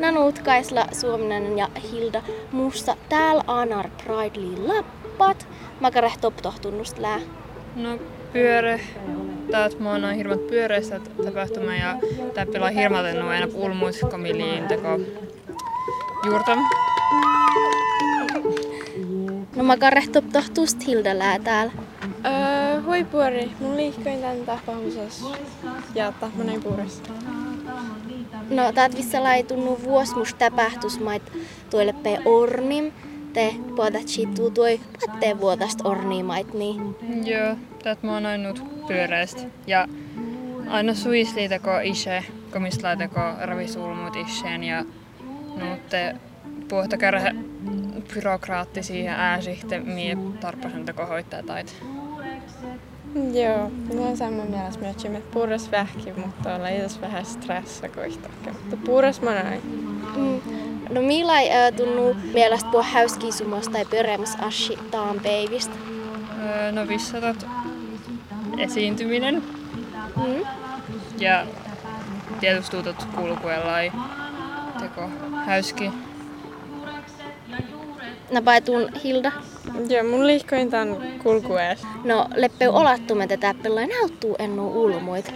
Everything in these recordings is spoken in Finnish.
Nanu Utkaisla, Suominen ja Hilda Mussa. Täällä anar Prideli lappat. Makare top-tohtunnust lää. No pyörä. Täältä mä oon hirmat pyöreistä tapahtuma ja tää pelaa hirmaten nuo aina pulmuuskamiliin teko juurtam. No makare top-tohtust Hilda lää täällä. Öö, hui puori. Mun liikkoin tän tapaamisessa. Ja tahmonen puurissa. No täältä vissa laitunnu vuos mus täpähtys mait tuolle pe ornim. Te puotat siittuu tuoi pattee vuotast orniin mait niin. Joo, täältä mä oon ainut pyöreistä. Ja aina suisli teko ise, komistla teko ravisulmut iseen ja nuutte puhuta kärhä byrokraatti siihen ääsihte mie tarpeisen teko hoitaa taita. Joo, mulla on sama mielessä myös, että puuras vähki, mutta on leitas vähän stressa kuitenkin. Mutta puuras mä näin. Mm. No millai äh, tunnu mielestä puhua häyskiisumos tai pyöreämis ashi taanpeivistä? Öö, No vissatat esiintyminen Mm. ja tietysti tuutat kulkuella ei teko häyski. No paitun Hilda. Joo, mun liikkoin tän kulkueessa. No leppe olattumme tätä pelaa nauttuu ennu ulmuit.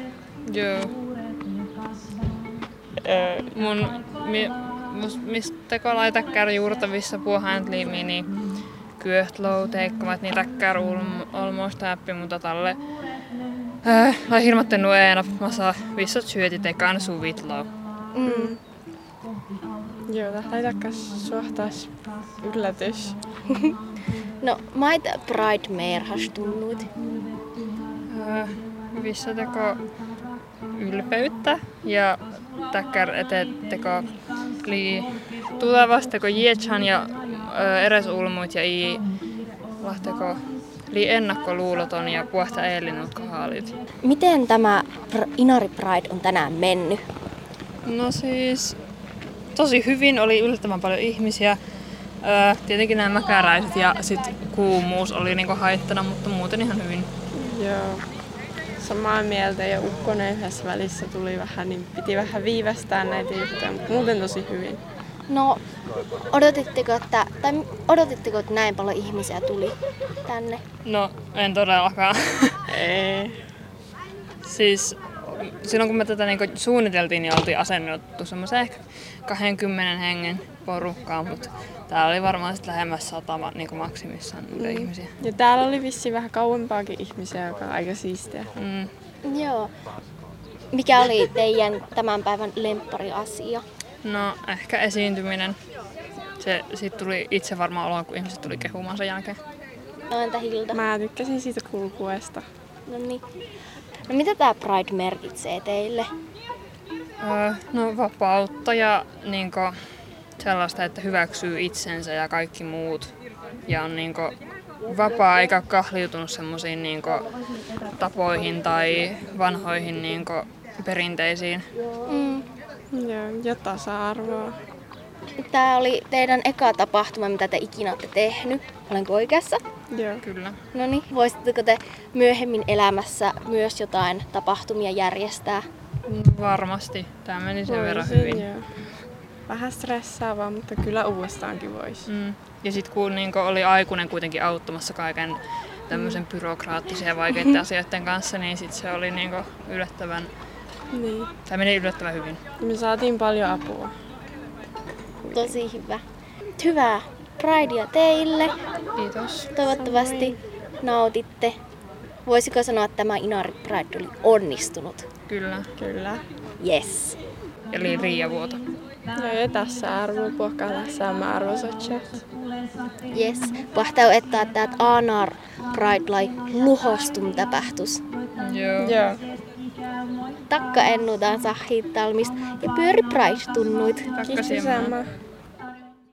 Joo. Öö, Mun, mi, mus, mistä teko laita kär juurtavissa puuhaan liimi, niin kyöhtlou teikkomat niitä kär olmoista äppi, mutta talle Äh, lai hirmatten nueena, mä saa vissat syöti tekan suvitlou. Mm. joo, tää laitakas suhtaas yllätys. No, mait Pride Meer has tullut. Öö, Hyvissä teko ylpeyttä ja täkkär eteen teko li tulevasta teko Jiechan ja öö, eräs ulmuit ja i lahteko li ennakkoluuloton ja puhta eellinut kohalit. Miten tämä Pr- Inari Pride on tänään mennyt? No siis tosi hyvin, oli yllättävän paljon ihmisiä. Öö, tietenkin nämä mäkäräiset ja sit kuumuus oli niinku haittana, mutta muuten ihan hyvin. Joo. Samaa mieltä ja ukkonen yhdessä välissä tuli vähän, niin piti vähän viivästää näitä juttuja, mutta muuten tosi hyvin. No, odotitteko, että, tai odotitteko, että näin paljon ihmisiä tuli tänne? No en todellakaan. Ei. Siis silloin kun me tätä niinku suunniteltiin, niin oltiin asennettu semmoisen ehkä 20 hengen porukkaan, mutta täällä oli varmaan sitten lähemmäs satama niinku maksimissaan niitä mm. ihmisiä. Ja täällä oli vissi vähän kauempaakin ihmisiä, joka on aika siistiä. Mm. Joo. Mikä oli teidän tämän päivän lemppariasia? No ehkä esiintyminen. Se sit tuli itse varmaan olo, kun ihmiset tuli kehumaan sen jälkeen. No, entä Hilda? Mä tykkäsin siitä kulkuesta. No niin. No mitä tämä Pride merkitsee teille? Öö, no vapautta ja niinku, sellaista, että hyväksyy itsensä ja kaikki muut. Ja on niinku, vapaa eikä ole kahliutunut semmoisiin niinku, tapoihin tai vanhoihin niinku, perinteisiin. Mm. Joo, ja tasa-arvoa. Tämä oli teidän eka tapahtuma, mitä te ikinä olette tehnyt. Olenko oikeassa? Joo. Kyllä. No niin, voisitteko te myöhemmin elämässä myös jotain tapahtumia järjestää? Mm, Varmasti. Tämä meni sen verran Voisin, hyvin. joo. Vähän stressaavaa, mutta kyllä uudestaankin voisi. Mm. Ja sitten kun niinku, oli aikuinen kuitenkin auttamassa kaiken tämmöisen byrokraattisen ja vaikeiden asioiden kanssa, niin sit se oli niinku, yllättävän, Niin. tämä meni yllättävän hyvin. Me saatiin paljon apua. Tosi hyvä. Hyvää Pridea teille. Kiitos. Toivottavasti nautitte. Voisiko sanoa, että tämä Inari Pride oli onnistunut? Kyllä. Kyllä. Yes. Eli Riiavuoto. Joo, ja tässä arvo puhkalla sama arvosatchat. Yes. Pahtau että tämä Anar Pride lai luhostum tapahtus. Joo. Joo. Takka ennutaan sahittaalmista ja pyöri Pride tunnuit. Tack Kiitos Simon. sama.